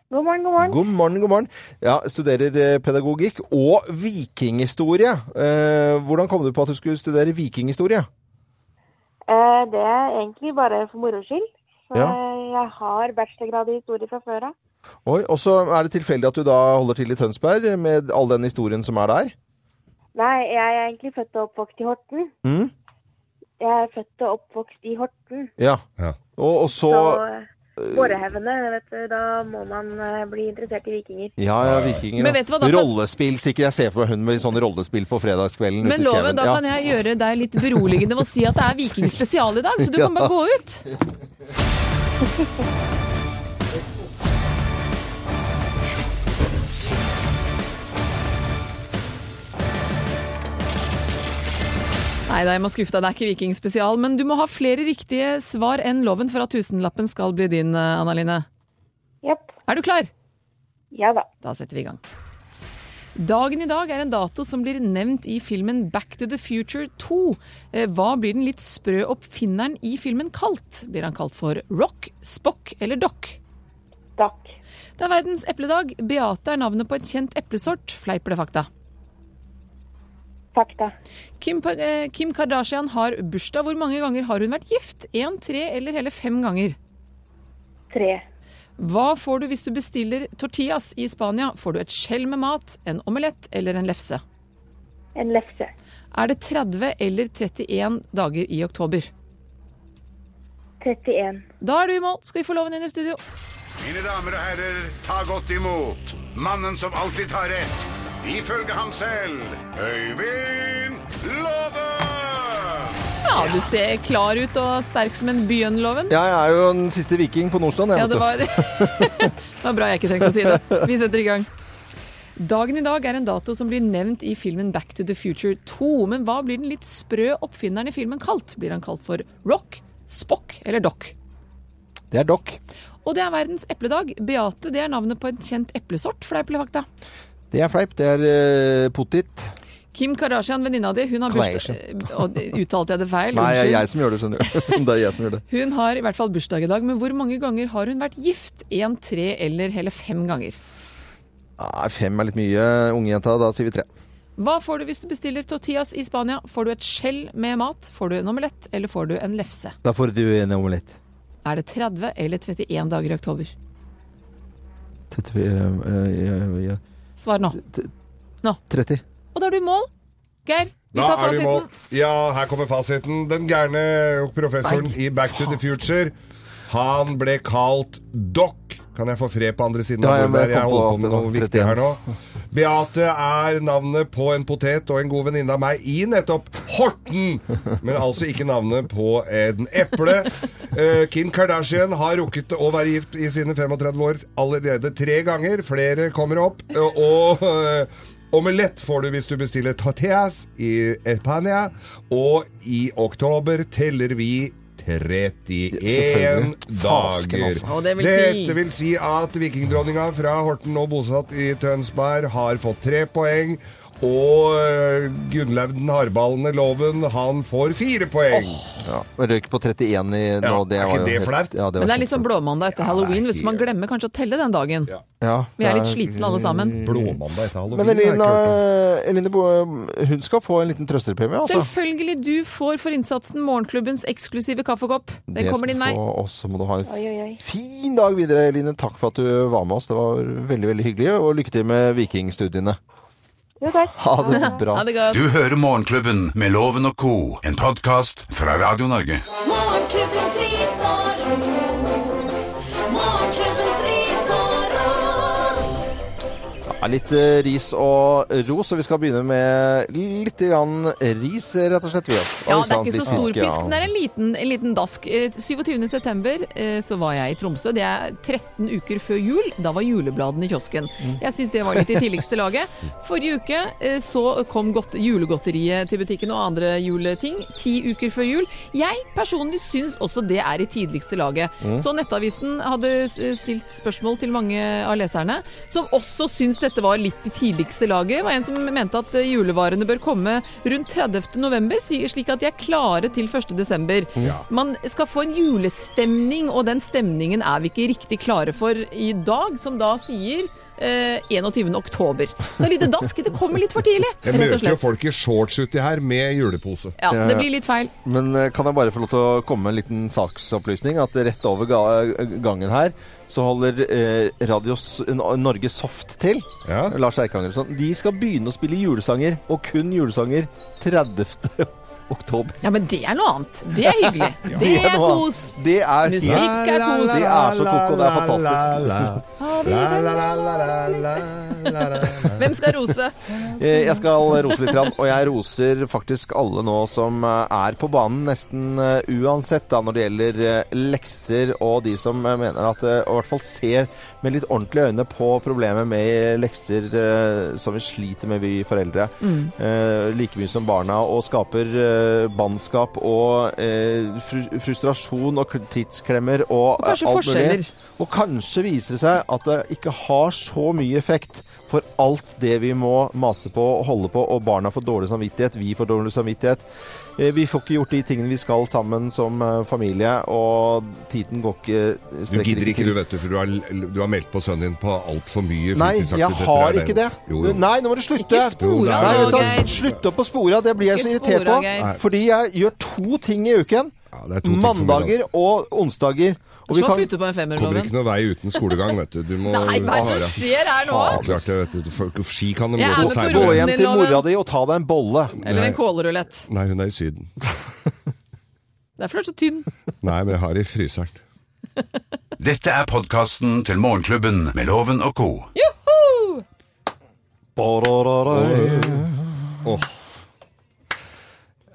Speaker 9: God morgen, god morgen.
Speaker 3: God morgen, god morgen. Ja, studerer eh, pedagogikk og vikinghistorie. Eh, hvordan kom du på at du skulle studere vikinghistorie?
Speaker 9: Eh, det er egentlig bare for moro skyld. For
Speaker 3: Ja.
Speaker 9: Jeg har bachelorgrad i historie fra før av.
Speaker 3: Oi, og så er det tilfeldig at du da holder til i Tønsberg med all den historien som er der.
Speaker 9: Nei, jeg er egentlig født og oppvokst i Horten.
Speaker 3: Mhm.
Speaker 9: Jeg er født og oppvokst i Horten.
Speaker 3: Ja.
Speaker 5: Ja.
Speaker 3: Og, og eh, så
Speaker 9: Så Bårehevene, vet du, da må man eh, bli interessert i vikinger.
Speaker 3: Ja, ja, vikingene.
Speaker 4: Men vet du hva, da kan-
Speaker 3: Rollespill, sikkert. Jeg ser for meg hun med sånn rollespill på fredagskvelden
Speaker 4: Men
Speaker 3: ute i skauen.
Speaker 4: loven, da kan jeg gjøre deg litt beroligende med å si at det er vikingspesial i dag, så du kan bare gå ut. Nei da, jeg må skuffe deg. Det er ikke vikingspesial. Men du må ha flere riktige svar enn loven for at tusenlappen skal bli din, eh, Anna Line.
Speaker 9: Jepp.
Speaker 4: Er du klar?
Speaker 9: Ja da.
Speaker 4: Da setter vi i gang. Dagen i dag er en dato som blir nevnt i filmen Back to the Future 2. Eh, Hva blir den litt sprø oppfinneren i filmen kalt? Blir han kalt for Rock, Spock eller Dock?
Speaker 9: Takk.
Speaker 4: Det er verdens epledag. Beate er navnet på et kjent eplesort. Fleip eller fakta?
Speaker 9: Fakta.
Speaker 4: Kim, Pa- eh, Kim Kardashian har bursdag. Hvor mange ganger har hun vært gift? Én, tre eller hele fem ganger?
Speaker 9: Tre.
Speaker 4: Hva får du hvis du bestiller tortillas i Spania? Får du et skjell med mat, en omelett eller en lefse?
Speaker 9: En lefse.
Speaker 4: er det 30 eller 31 dager i oktober.
Speaker 9: 31.
Speaker 4: Da er du i mål. Skal vi få loven inn i studio?
Speaker 2: Mine damer og herrer, ta godt imot mannen som alltid tar rett, ifølge ham selv, Øyvind Låve!
Speaker 4: Ja, du ser klar ut og sterk som en byen, loven.
Speaker 3: Ja, jeg er jo den siste viking på Nordstrand. Jeg,
Speaker 4: Ja,
Speaker 3: vet
Speaker 4: det
Speaker 3: du.
Speaker 4: var, det [LAUGHS] var bra jeg ikke tenkte å si det. Vi setter i gang. Dagen i dag er en dato som blir nevnt i filmen Back to the Future 2. Men hva blir den litt sprø oppfinneren i filmen kalt? Blir han kalt for Rock, Spock eller Doc?
Speaker 3: det er dokk.
Speaker 4: Og det er verdens epledag. Beate det er navnet på en kjent eplesort, fleip eller fakta.
Speaker 3: Det er fleip. Det er eh, potet.
Speaker 4: Kim Kardashian, venninna di, hun har bursdag... eh, Og Uttalte jeg det feil?
Speaker 3: Nei, det er
Speaker 4: Unnskyld.
Speaker 3: jeg som gjør det, skjønner du. [LAUGHS] Det er jeg som gjør det.
Speaker 4: Hun har i hvert fall bursdag i dag, men hvor mange ganger har hun vært gift? Én, tre eller hele fem ganger?
Speaker 3: Nei, fem er litt mye, ungjenta. Da sier vi tre.
Speaker 4: Hva får du hvis du bestiller tortillas i Spania? Får du et skjell med mat? Får du en omelett, eller får du en lefse?
Speaker 3: Da får du en omelett.
Speaker 4: Er det 30 eller 31 dager i oktober?
Speaker 3: Tett- eh, eh, eh,
Speaker 4: Svar nå.
Speaker 3: 30.
Speaker 4: Og da er du i mål. Geir, vi
Speaker 5: Da
Speaker 4: tar
Speaker 5: er du i mål.
Speaker 4: fasiten.
Speaker 5: Ja, her kommer fasiten. Den gærne professoren i Back to the Future, han ble kalt Doc. Kan jeg få fred på andre siden
Speaker 3: Ja,
Speaker 5: av
Speaker 3: jeg
Speaker 5: bordet?
Speaker 3: bare
Speaker 5: her? Jeg
Speaker 3: kom på
Speaker 5: holder på
Speaker 3: at
Speaker 5: med
Speaker 3: det var
Speaker 5: noe viktig
Speaker 3: 31.
Speaker 5: her nå. Beate er navnet på en potet og en god venninne av meg i nettopp Horten, men altså ikke navnet på en eple. Eh, Kim Kardashian har rukket å være gift i sine 35 år allerede tre ganger. Flere kommer opp. eh, Og eh, omelett får du hvis du bestiller tortillas i Espania. Og i oktober teller vi 31
Speaker 3: Selvfølgelig. Fasken,
Speaker 5: dager.
Speaker 3: altså.
Speaker 4: Og det vil si-
Speaker 5: Dette vil si at vikingdronninga fra Horten og bosatt i Tønsberg har fått tre poeng. Og eh, Gunnlaug den hardballende Loven, han får fire poeng.
Speaker 3: Ja, og Røyk på 31 i nå.
Speaker 5: Ja,
Speaker 3: det
Speaker 5: er
Speaker 3: var
Speaker 5: ikke
Speaker 3: jo
Speaker 5: det
Speaker 3: helt-
Speaker 5: flaut?
Speaker 3: Ja, det var
Speaker 4: Men det er litt sånn
Speaker 3: kjempeflaut.
Speaker 4: blåmandag etter halloween, vet du, så man glemmer kanskje å telle den dagen.
Speaker 5: Ja. Mm.
Speaker 3: Ja,
Speaker 4: sånn- Vi er
Speaker 3: det
Speaker 4: litt slitne alle sammen.
Speaker 5: Blåmandag etter
Speaker 3: Men
Speaker 5: halloween. har jeg ikke
Speaker 3: Eline,
Speaker 5: hørt om.
Speaker 3: Eline Bo- eh, hun skal få en liten trøsterpremie, altså.
Speaker 4: Selvfølgelig du får for innsatsen morgenklubbens eksklusive kaffekopp. Det
Speaker 3: Det
Speaker 4: kommer din
Speaker 3: skal
Speaker 4: vei.
Speaker 3: du få, Og så må du ha en
Speaker 9: Oi, oi, oi.
Speaker 3: fin dag videre, Eline. Takk for at du var med oss. Det var veldig veldig hyggelig. Og lykke til med vikingstudiene.
Speaker 9: Jo, takk.
Speaker 3: Ha det bra.
Speaker 4: [LAUGHS] Ha det godt.
Speaker 2: Du hører Morgenklubben med Loven og Co., en podkast fra Radio Norge.
Speaker 1: Morgenklubbens ris og ros. Morgenklubbens ris og ros.
Speaker 3: Nei, er litt eh, ris og ros, og vi skal begynne med litt grann ris, rett og slett. vi, ass.
Speaker 4: Ja, det
Speaker 3: Oi,
Speaker 4: er
Speaker 3: sant,
Speaker 4: ikke så
Speaker 3: litt
Speaker 4: stor
Speaker 3: fisk, ja.
Speaker 4: pisk. Den er en liten, en liten dask. Eh, 27. september eh, så var jeg i Tromsø. Det er 13 uker før jul. Da var julebladene i kiosken.
Speaker 11: Mm.
Speaker 4: Jeg syns det var litt i tidligste
Speaker 11: [LAUGHS]
Speaker 4: laget. Forrige uke eh, så kom godt, julegodteriet til butikken og andre juleting. Ti uker før jul. Jeg personlig syns også det er i tidligste laget.
Speaker 11: Mm.
Speaker 4: Så Nettavisen hadde eh, stilt spørsmål til mange av leserne, som også syns dette var litt i tidligste laget. Det var en som mente at eh, julevarene bør komme rundt 30. november, si- slik at de er klare til 1. desember.
Speaker 11: Ja.
Speaker 4: Man skal få en julestemning, og den stemningen er vi ikke riktig klare for i dag, som da sier eh, 21. oktober. Så lite dask, det kommer litt for tidlig,
Speaker 5: Jeg
Speaker 4: rett og
Speaker 5: møter jo
Speaker 4: slett.
Speaker 5: folk i shorts uti her med julepose.
Speaker 4: Ja, det blir litt feil.
Speaker 3: Men eh, kan jeg bare få lov til å komme med en liten saksopplysning? At rett over ga eh, gangen her så holder eh, Radio S- N- Norge Soft til. Lars Eikanger og sånn. De skal begynne å spille julesanger, og kun julesanger, 30. [LAUGHS] oktober.
Speaker 4: Ja, men det er noe annet. Det er [LAUGHS] hyggelig. Det er
Speaker 3: noe
Speaker 4: kos.
Speaker 3: annet. Det er
Speaker 4: Musikk er kos.
Speaker 3: Det er så koko, det er fantastisk.
Speaker 4: Hvem skal rose?
Speaker 3: Eh, Jeg skal rose litt, grann, og jeg roser faktisk alle nå som eh, er på banen, nesten eh, uansett, da, når det gjelder eh, lekser og de som eh, mener at eh, og i hvert fall ser med litt ordentlige øyne på problemet med lekser eh, som vi sliter med, vi foreldre.
Speaker 11: Mm.
Speaker 3: Eh, Like mye som barna, og skaper eh, bannskap og eh, fru- frustrasjon og kl- tidsklemmer og
Speaker 4: Og kanskje
Speaker 3: eh, alt mulig.
Speaker 4: forskjeller.
Speaker 3: Og kanskje viser det seg at det ikke har så mye effekt for alt det vi må mase på og holde på, og barna får dårlig samvittighet, vi får dårlig samvittighet. Eh, Vi får ikke gjort de tingene vi skal sammen som eh, familie, og tiden går ikke
Speaker 5: Du gidder ikke,
Speaker 3: til.
Speaker 5: du vet du, for du har, du har meldt på sønnen din på altfor mye
Speaker 3: Nei, jeg har ikke det.
Speaker 5: Jo, jo.
Speaker 3: Nei, nå må du slutte.
Speaker 5: Ikke spor av
Speaker 3: Nei, vet du,
Speaker 5: nå, Geir.
Speaker 3: Slutt opp å spore av, det blir jeg så
Speaker 5: Ikke
Speaker 3: irritert
Speaker 5: spor av,
Speaker 3: på.
Speaker 5: Geir. Nei.
Speaker 3: Fordi jeg gjør to ting i uken.
Speaker 5: det er to ting for mye,
Speaker 3: Mandager og onsdager. Og vi
Speaker 4: Slå
Speaker 3: kan-
Speaker 4: putte på en femmer,
Speaker 5: Kommer
Speaker 4: loven.
Speaker 5: ikke noe vei uten skolegang, vet du. du
Speaker 4: [LAUGHS]
Speaker 5: må,
Speaker 4: Nei, hva er det som skjer her nå?
Speaker 5: Ja, klart det, vet du. Folk- Ski kan de
Speaker 4: Jeg er
Speaker 5: gå
Speaker 4: med
Speaker 5: på
Speaker 4: på
Speaker 5: seinere.
Speaker 4: roen Gå hjem din, til Loven. mora
Speaker 3: di og ta deg en bolle.
Speaker 4: Eller en kålrulett.
Speaker 5: Nei, hun er i Syden.
Speaker 4: Derfor er den så tynn.
Speaker 5: Nei, men jeg har i fryseren.
Speaker 2: Dette er podkasten til Morgenklubben med Loven og co.
Speaker 4: Joho!
Speaker 5: Åh.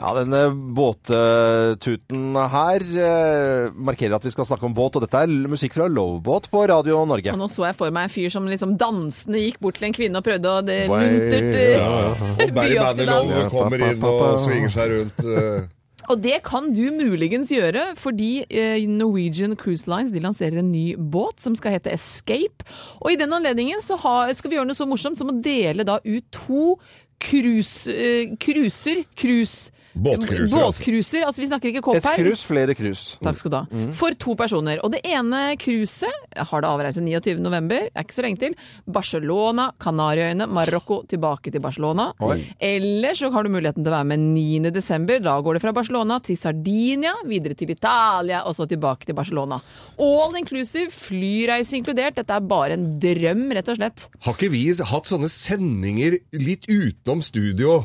Speaker 3: Ja, denne båttuten her eh, markerer at vi skal snakke om båt, og dette er l- musikk fra Lovebåt på Radio Norge.
Speaker 4: Og nå så jeg for meg en fyr som liksom dansende gikk bort til en kvinne og prøvde å det
Speaker 3: Wow.
Speaker 4: luntert eh,
Speaker 5: Ja, ja. Og Barry
Speaker 4: by opp til dans.
Speaker 5: Manilow kommer inn og svinger seg rundt. eh,
Speaker 4: Og det kan du muligens gjøre, fordi eh, Norwegian Cruise Lines de lanserer en ny båt som skal hete Escape. Og i den anledningen så har, skal vi gjøre noe så morsomt som å dele da ut to cruise, eh, cruiser. Cruise.
Speaker 3: Båtcruiser, altså.
Speaker 4: Båtcruiser, altså. Vi snakker ikke kopp
Speaker 3: Et
Speaker 4: her.
Speaker 3: krus, flere [LAUGHS] krus.
Speaker 4: Takk skal du ha. For to personer. Og det ene cruiset har da avreise 29.11. Er ikke så lenge til. Barcelona, Kanariøyene, Marokko, tilbake til Barcelona.
Speaker 11: Oi.
Speaker 4: Eller så har du muligheten til å være med 9.12. Da går det fra Barcelona til Sardinia, videre til Italia, og så tilbake til Barcelona. All inclusive, flyreise inkludert. Dette er bare en drøm, rett og slett.
Speaker 5: Har ikke vi hatt sånne sendinger litt utenom
Speaker 3: [LAUGHS]
Speaker 5: studio?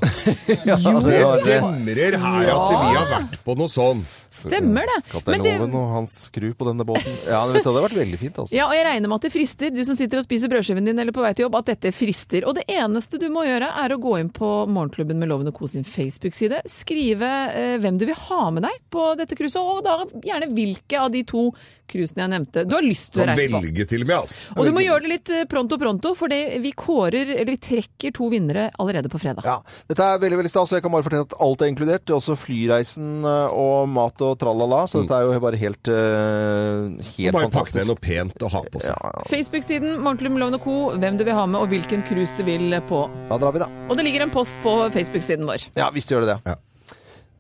Speaker 3: Jo,
Speaker 5: det
Speaker 3: har vi.
Speaker 5: demrer her at
Speaker 3: Ja.
Speaker 5: vi har vært på noe sånn.
Speaker 4: Stemmer det. Men
Speaker 3: Kaptein
Speaker 4: det-
Speaker 3: Oven og hans crew på denne båten. [LAUGHS] Ja, vet du, det hadde vært veldig fint, altså.
Speaker 4: Ja, og jeg regner med at det frister, du som sitter og spiser brødskiven din eller på vei til jobb, at dette frister. Og det eneste du må gjøre, er å gå inn på Morgenklubben med Loven og Co sin Facebook-side, skrive eh, hvem du vil ha med deg på dette cruiset, og da gjerne hvilke av de to cruisene jeg nevnte du har lyst til å
Speaker 5: Kan
Speaker 4: reise på.
Speaker 5: velge til og med, altså.
Speaker 4: Og du må gjøre det litt eh, pronto pronto, for det vi kårer, eller vi trekker to vinnere allerede på fredag.
Speaker 3: Ja, Dette er veldig veldig stas, og jeg kan bare fortelle at alt er inkludert. Også flyreisen eh, og mat og tralala. Så dette er jo bare helt, eh, helt
Speaker 5: Bare pakk
Speaker 3: fantastisk.
Speaker 5: ned noe pent å ha på seg.
Speaker 4: Facebook-siden Morgenklubben med Loven og Co, hvem du vil ha med, og hvilken cruise du vil på.
Speaker 3: Da drar vi, da.
Speaker 4: Og det ligger en post på Facebook-siden vår.
Speaker 3: Ja, visst gjør det det.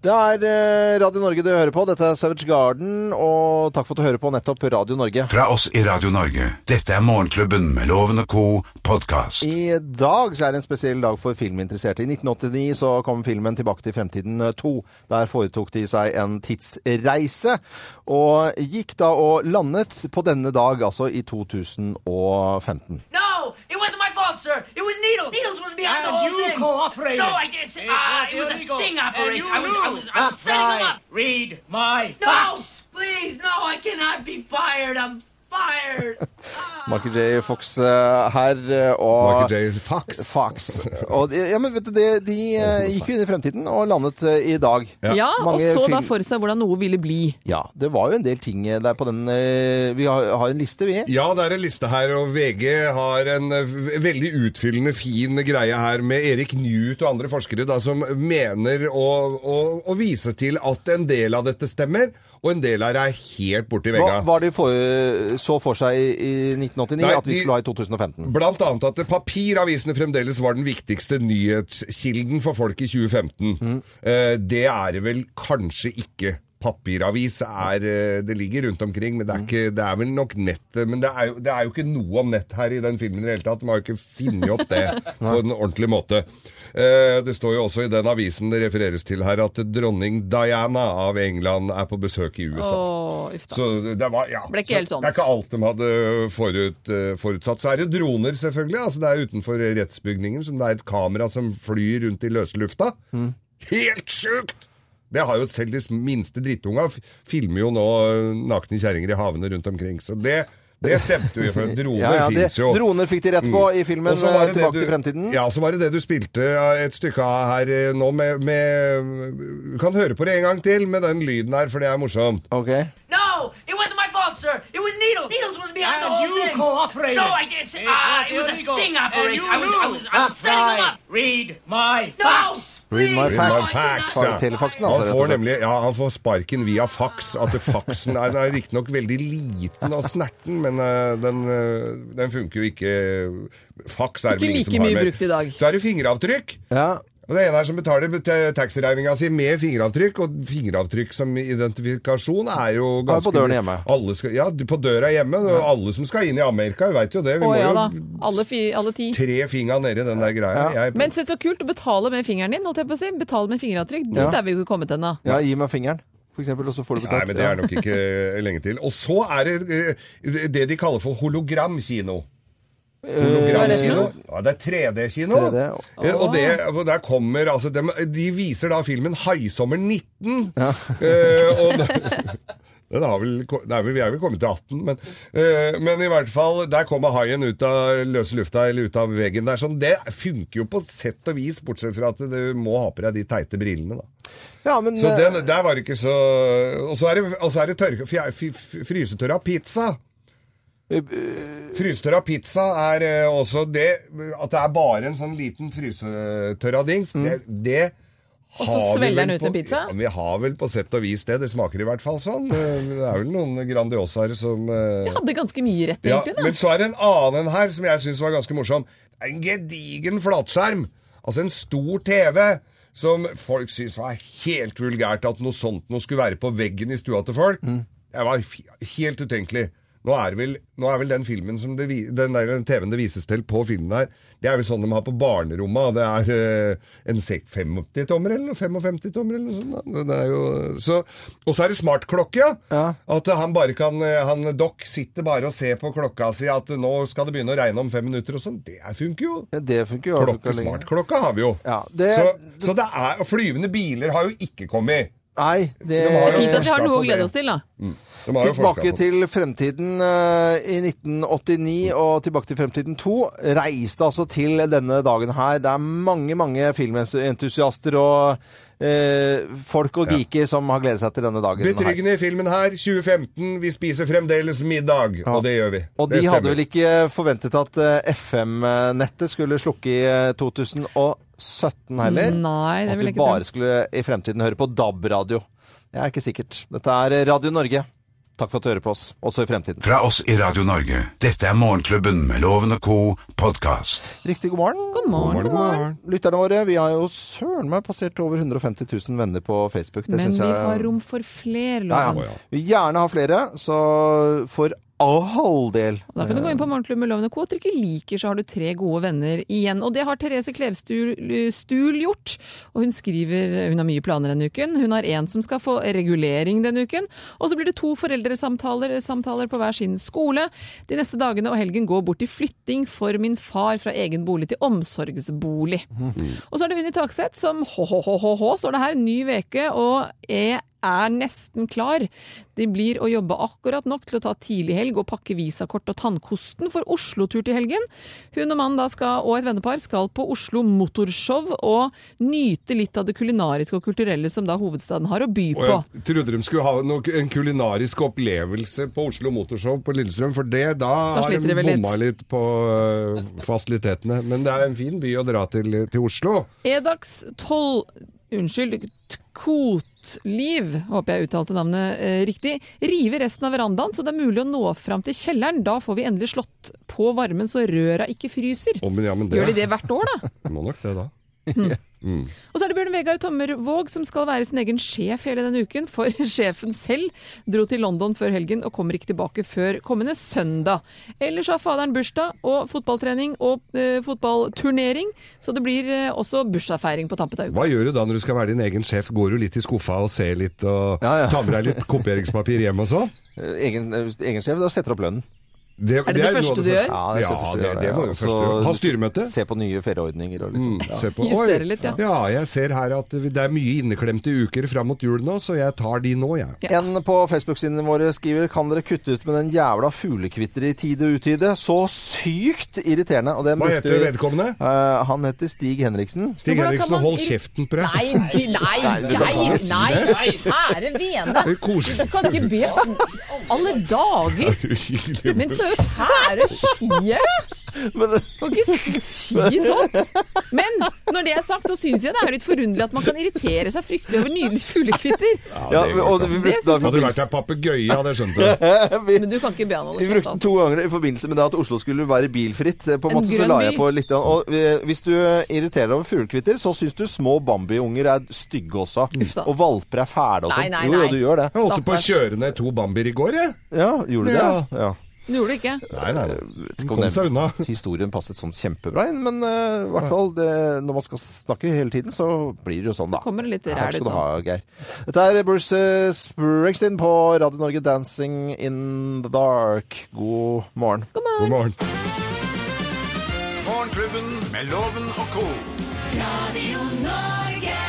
Speaker 3: Det er eh, Radio Norge du hører på. Dette er Savage Garden, og takk for at du hører på nettopp Radio Norge.
Speaker 2: Fra oss i Radio Norge. Dette er Morgenklubben med Loven og co. podkast.
Speaker 3: I dag så er det en spesiell dag for filminteresserte. I 1989 så kom filmen Tilbake til fremtiden 2. Der foretok de seg en tidsreise, og gikk da og landet på denne dag, altså i 2015.
Speaker 12: No, it wasn't my fault, sir. It was Needles. Needles was behind the whole thing. No, I did.
Speaker 11: It
Speaker 12: Ah,
Speaker 11: was
Speaker 12: it was a
Speaker 11: illegal.
Speaker 12: sting
Speaker 11: And
Speaker 12: operation.
Speaker 11: you
Speaker 12: I was, I was, I
Speaker 11: knew.
Speaker 12: was setting them
Speaker 11: Upright.
Speaker 12: up. Read my no, please, no, I cannot be fired. I'm fired.
Speaker 3: Michael J. Fox eh, her. eh, Og
Speaker 5: Michael J. Fox.
Speaker 3: Og de, ja, men vet du, de, de eh, gikk jo inn i fremtiden og landet eh, i dag.
Speaker 4: Ja, og
Speaker 3: Mange
Speaker 4: så
Speaker 3: film-
Speaker 4: da for seg hvordan noe ville bli.
Speaker 3: Ja, det var jo en del ting eh, der på den eh, Vi har, har en liste, vi.
Speaker 5: Ja, det er en liste her, og VG har en eh, v- veldig utfyllende, fin greie her med Erik Newt og andre forskere da, som mener å, å, å vise til at en del av dette stemmer, og en del her er helt borti vegga.
Speaker 3: Hva var det de for, eh, så for seg i i 1989
Speaker 5: Nei,
Speaker 3: at vi
Speaker 5: de-
Speaker 3: skulle ha i 2015?
Speaker 5: Blant annet at papiravisene fremdeles var den viktigste nyhetskilden for folk i 2015. Eh, Det er det vel kanskje ikke. Papiravis er eh, Det ligger rundt omkring, men det er, ikke, det er vel nok nettet. Men det er, jo, det er jo ikke noe om nett her i den filmen i det hele tatt. De har jo ikke funnet opp det på en ordentlig måte. Eh, Det står jo også i den avisen det refereres til her, at dronning Diana av England er på besøk i USA.
Speaker 4: Åh, uff da.
Speaker 5: Så det var, ja.
Speaker 4: Ble ikke
Speaker 5: så
Speaker 4: helt sånn.
Speaker 5: Det er ikke alt de hadde forut, eh, forutsatt. Så er det droner, selvfølgelig. Altså, det er utenfor rettsbygningen som det er et kamera som flyr rundt i løse lufta.
Speaker 3: Mm.
Speaker 5: Helt sjukt! Det har jo selv de minste drittunga. f- Filmer jo nå eh, nakne kjerringer i havene rundt omkring. Så det, det stemte jo,
Speaker 3: [LAUGHS]
Speaker 5: for droner
Speaker 3: Ja, ja, det-
Speaker 5: fins jo. Mm.
Speaker 3: droner fikk de rett på i filmen,
Speaker 5: Og så var det
Speaker 3: eh, Tilbake
Speaker 5: det
Speaker 3: til fremtiden.
Speaker 5: Ja, så var det det du spilte eh, et stykke av her eh, nå med, med Du kan høre på det en gang til med den lyden her, for det er morsomt.
Speaker 3: Okay.
Speaker 12: No, it wasn't my fault, sir. It was Needles. Needles was behind the
Speaker 11: And
Speaker 12: whole
Speaker 11: you
Speaker 12: thing.
Speaker 11: cooperated.
Speaker 12: No, I did.
Speaker 11: It
Speaker 12: Ah,
Speaker 11: was
Speaker 12: it was a
Speaker 11: illegal.
Speaker 12: sting
Speaker 11: And
Speaker 12: operation.
Speaker 11: you
Speaker 12: I was, I
Speaker 11: knew.
Speaker 12: was, I was
Speaker 11: That's
Speaker 12: setting them
Speaker 11: right.
Speaker 12: up. Read my
Speaker 11: No.
Speaker 12: facts.
Speaker 3: Read my
Speaker 5: Read my
Speaker 3: facts.
Speaker 5: facts,
Speaker 3: Fa-
Speaker 5: ja.
Speaker 3: Telefaxen, altså. rett
Speaker 5: Han
Speaker 3: og
Speaker 5: får
Speaker 3: slett.
Speaker 5: nemlig ja, han får sparken via fax. At det- faxen er, den er riktignok veldig liten og snerten, men eh, den, eh, den funker jo ikke Fax er det vel
Speaker 4: Ikke
Speaker 5: ingen som
Speaker 4: like
Speaker 5: har
Speaker 4: mye
Speaker 5: mer.
Speaker 4: brukt i dag.
Speaker 5: Så er det fingeravtrykk. Og det ene er som betaler bet- taxiregninga si med fingeravtrykk, og fingeravtrykk som identifikasjon er jo
Speaker 3: Ja,
Speaker 5: ganske
Speaker 3: på døren hjemme.
Speaker 5: Alle skal, ja, du- på døra hjemme. Og alle som skal inn i Amerika, veit jo det. Vi
Speaker 4: Å
Speaker 5: må
Speaker 4: ja da.
Speaker 5: jo
Speaker 4: Alle, fi, alle ti.
Speaker 5: tre fingra nedi den der greia. Jeg,
Speaker 4: Men se så kult å betale med fingeren din, holdt jeg på å si. Betale med fingeravtrykk. Dit
Speaker 5: Ja.
Speaker 4: er vi jo ikke kommet ennå.
Speaker 3: Ja, gi meg fingeren, for eksempel, og så får du
Speaker 5: Nei,
Speaker 3: betalt.
Speaker 5: men det er
Speaker 3: Ja.
Speaker 5: nok ikke eh, lenge til. Og så er det eh, det de kaller for hologramkino.
Speaker 3: Eh,
Speaker 5: Hologramkino. Ja, det er 3D-kino.
Speaker 3: 3D,
Speaker 5: Eh, Og det, og der kommer altså De, de viser da filmen 'Haisommer 19'. Eh, og da, [LAUGHS] den har vel, ko- det er vel, vi er vel kommet til 18, men, eh, men i hvert fall Der kommer haien ut av løse lufta eller ut av veggen der. Sånn, det funker jo på sett og vis, bortsett fra at du må ha på deg de teite brillene, da.
Speaker 3: Ja, men,
Speaker 5: Så
Speaker 3: eh,
Speaker 5: den, der var det ikke så Og så er det, og så er det tørke, fjer- fy- fy- frysetørra pizza.
Speaker 3: eh,
Speaker 5: Frysetørra pizza er eh, også det At det er bare en sånn liten frysetørra dings, det, det
Speaker 4: Mm. Og så
Speaker 5: har vi
Speaker 4: svelger
Speaker 5: vel
Speaker 4: den ut
Speaker 5: på-
Speaker 4: en pizza?
Speaker 5: Ja, vi har vel på sett og vis det. Det smaker i hvert fall sånn. Eh, Det er vel noen Grandiosaer som eh,
Speaker 4: Jeg hadde ganske mye rett,
Speaker 5: ja,
Speaker 4: egentlig. da.
Speaker 5: men så er det en annen her som jeg syns var ganske morsom. Det er En gedigen flatskjerm. Altså en stor TV. Som folk syntes var helt vulgært at noe sånt noe skulle være på veggen i stua til folk. Det var f- helt utenkelig. Nå er, det vel, nå er vel den filmen som det, vi- den der TV-en det vises til på filmen her, det er vel sånn de har på barnerommet. og Det er eh, en sek- 50-tommer eller noe, 55-tommer eller noe sånt. da. Det er jo, så, og så er det smartklokke, ja. At han bare kan eh, han, Dokk sitter bare og ser på klokka si at nå skal det begynne å regne om fem minutter og sånn. Det er- funker jo.
Speaker 3: Ja, det funker jo.
Speaker 5: Klokke, smartklokka har vi jo.
Speaker 3: det-
Speaker 5: så, så det er Og flyvende biler har jo ikke kommet.
Speaker 3: Nei, det
Speaker 5: De
Speaker 4: Det
Speaker 5: har
Speaker 4: er fint
Speaker 5: jo
Speaker 4: at vi
Speaker 5: forsket
Speaker 4: har noe
Speaker 5: på
Speaker 4: å
Speaker 5: det.
Speaker 4: glede oss til, da.
Speaker 5: Mm. De har jo forsket
Speaker 3: Tilbake
Speaker 5: på det.
Speaker 3: til fremtiden eh, i 1989 og Tilbake til fremtiden 2 reiste altså til denne dagen her. Det er mange, mange filmentusiaster og eh, folk og geeker som har gledet seg til denne dagen. her.
Speaker 5: Betryggende i filmen her. 2015, vi spiser fremdeles middag. Og det gjør vi.
Speaker 3: Og de
Speaker 5: det
Speaker 3: hadde
Speaker 5: stemmer.
Speaker 3: vel ikke forventet at eh, FM-nettet skulle slukke i eh, 2017 heller?
Speaker 4: Nei, det
Speaker 3: At
Speaker 4: vil jeg
Speaker 3: vi
Speaker 4: ikke tro.
Speaker 3: bare skulle i fremtiden høre på DAB-radio. Jeg er ikke sikkert. Dette er Radio Norge. Takk for at du hører på oss, også i fremtiden.
Speaker 2: Fra oss i Radio Norge, dette er Morgenklubben med Loven og co. podkast.
Speaker 3: Riktig god morgen. God morgen, god morgen. Lytterne våre, vi har jo søren meg passert over 150 000 venner på Facebook. Det
Speaker 4: Men
Speaker 3: syns
Speaker 4: vi
Speaker 3: jeg
Speaker 4: har rom for fler,
Speaker 3: Ja,
Speaker 4: Loven.
Speaker 3: ja. Vi gjerne har flere, så for all del.
Speaker 4: Da kan du gå inn på Morgenklubben med Loven og Co. Og trykke liker, så har du tre gode venner igjen. Og det har Therese Klevstul eh, Stul gjort. Og hun skriver hun har mye planer denne uken. Hun har en som skal få regulering denne uken. Og så blir det to foreldresamtaler eh, samtaler på hver sin skole. De neste dagene og helgen går bort til flytting for min far fra egen bolig til omsorgsbolig. Og så er det Unni Takseth som hå-hå-hå-hå, står det her, ny veke og er er nesten klar. Det blir å jobbe akkurat nok til å ta tidlighelg og pakke visakort og tannkosten for Oslo-tur til helgen. Hun og mannen da skal, og et vennepar skal på Oslo Motorshow og nyte litt av det kulinariske og kulturelle som da hovedstaden har å by
Speaker 5: Og
Speaker 4: på.
Speaker 5: jeg trodde de skulle ha noe, en kulinarisk opplevelse på Oslo Motorshow på Lillestrøm, for det, da,
Speaker 4: Da
Speaker 5: har
Speaker 4: sliter
Speaker 5: de
Speaker 4: de vel litt.
Speaker 5: bomma litt på øh, fasilitetene. Men det er en fin by å dra til, til Oslo.
Speaker 4: Edax toll... Unnskyld, Kotliv, håper jeg uttalte navnet eh, riktig, river resten av verandaen, så det er mulig å nå fram til kjelleren. Da får vi endelig slått på varmen så røra ikke fryser.
Speaker 5: Å, men ja, men det-
Speaker 4: Gjør de det hvert år, da?
Speaker 5: Det må nok det, da. Mm.
Speaker 4: Og så er det Bjørn Vegard Tommervåg som skal være sin egen sjef hele denne uken, for [LAUGHS] sjefen selv dro til London før helgen og kommer ikke tilbake før kommende søndag. Ellers har faderen bursdag og fotballtrening og eh, fotballturnering, så det blir eh, også bursdagsfeiring på tampet av uka.
Speaker 5: Hva gjør du da når du skal være din egen sjef? Går du litt i skuffa og ser litt, og tar med deg litt kopieringspapir hjem og sånn?
Speaker 3: Eh, Egen, egen sjef da setter opp lønnen.
Speaker 5: det det er noe første av det du første. gjør?
Speaker 3: Ja, det, er
Speaker 5: Ja,
Speaker 3: første du
Speaker 5: det-
Speaker 3: gjør,
Speaker 5: det må jo
Speaker 3: Og
Speaker 5: først
Speaker 3: så
Speaker 5: gjøre. Ha styremøte.
Speaker 3: Se på nye ferieordninger og liksom.
Speaker 5: Mm, se på. Oi,
Speaker 4: Justere litt, ja.
Speaker 5: ja, jeg ser her at det er mye inneklemte uker fram mot jul nå, så jeg tar de nå, jeg.
Speaker 3: En på Facebook-sidene våre skriver Kan dere kutte ut med den jævla fuglekvitter i tide og utide? Så sykt irriterende. Og den
Speaker 5: Hva
Speaker 3: brukte
Speaker 5: heter
Speaker 3: vi-
Speaker 5: vedkommende?
Speaker 3: Eh, han heter Stig Henriksen.
Speaker 5: Stig Men hvordan Henriksen, kan man hold irri- kjeften på deg. [LAUGHS]
Speaker 4: Nei, de, nei,
Speaker 3: Nei,
Speaker 4: nei,
Speaker 3: vet du hva,
Speaker 4: nei,
Speaker 3: Thomas?
Speaker 4: kjære vene!
Speaker 3: Det er
Speaker 5: [LAUGHS]
Speaker 3: koselig.
Speaker 4: Du kan ikke be Alle dager! Men så kjære skie! Kan ikke si sånt! Men når det er sagt, så syns jeg det er litt forunderlig at man kan irritere seg fryktelig over nydelige fuglekvitter.
Speaker 3: Ja, og vi brukte da Eh,
Speaker 5: Hadde du vært
Speaker 3: [LAUGHS]
Speaker 5: ei papegøye, hadde jeg [LAUGHS] skjønt det.
Speaker 4: Men du kan ikke be han holde
Speaker 3: Vi
Speaker 4: kjeft,
Speaker 3: brukte den
Speaker 4: altså.
Speaker 3: to ganger i forbindelse med det at Oslo skulle være bilfritt. Eh, På
Speaker 4: En
Speaker 3: en måte så
Speaker 4: grønn
Speaker 3: la
Speaker 4: by.
Speaker 3: jeg på litt grann. Og eh, hvis du irriterer deg over fuglekvitter, så syns du små bambiunger er stygge også. Og valper er fæle og
Speaker 4: Nei,
Speaker 3: sånn.
Speaker 4: nei,
Speaker 3: Jo,
Speaker 4: nei.
Speaker 3: jo, du gjør det.
Speaker 5: Jeg holdt på å kjøre ned to bambier i går, jeg.
Speaker 3: Ja, gjorde du
Speaker 5: Ja.
Speaker 3: det? Ja.
Speaker 4: Du gjorde det ikke?
Speaker 5: Nei, nei, nei.
Speaker 3: Vet ikke om
Speaker 5: Kom
Speaker 3: den
Speaker 5: seg
Speaker 3: [LAUGHS] Historien passet sånn kjempebra inn, men eh, i hvert fall det, når man skal snakke hele tiden, så blir det jo sånn, da.
Speaker 4: Kommer det litt
Speaker 3: Takk
Speaker 4: ræl ut
Speaker 3: skal du
Speaker 4: nå?
Speaker 3: ha, Geir. Dette er Bruce eh, Springsteen på Radio Norge, 'Dancing in the Dark'. God morgen.
Speaker 4: God
Speaker 5: morgen.
Speaker 2: Morgenklubben med Loven og co.
Speaker 1: Radio Norge.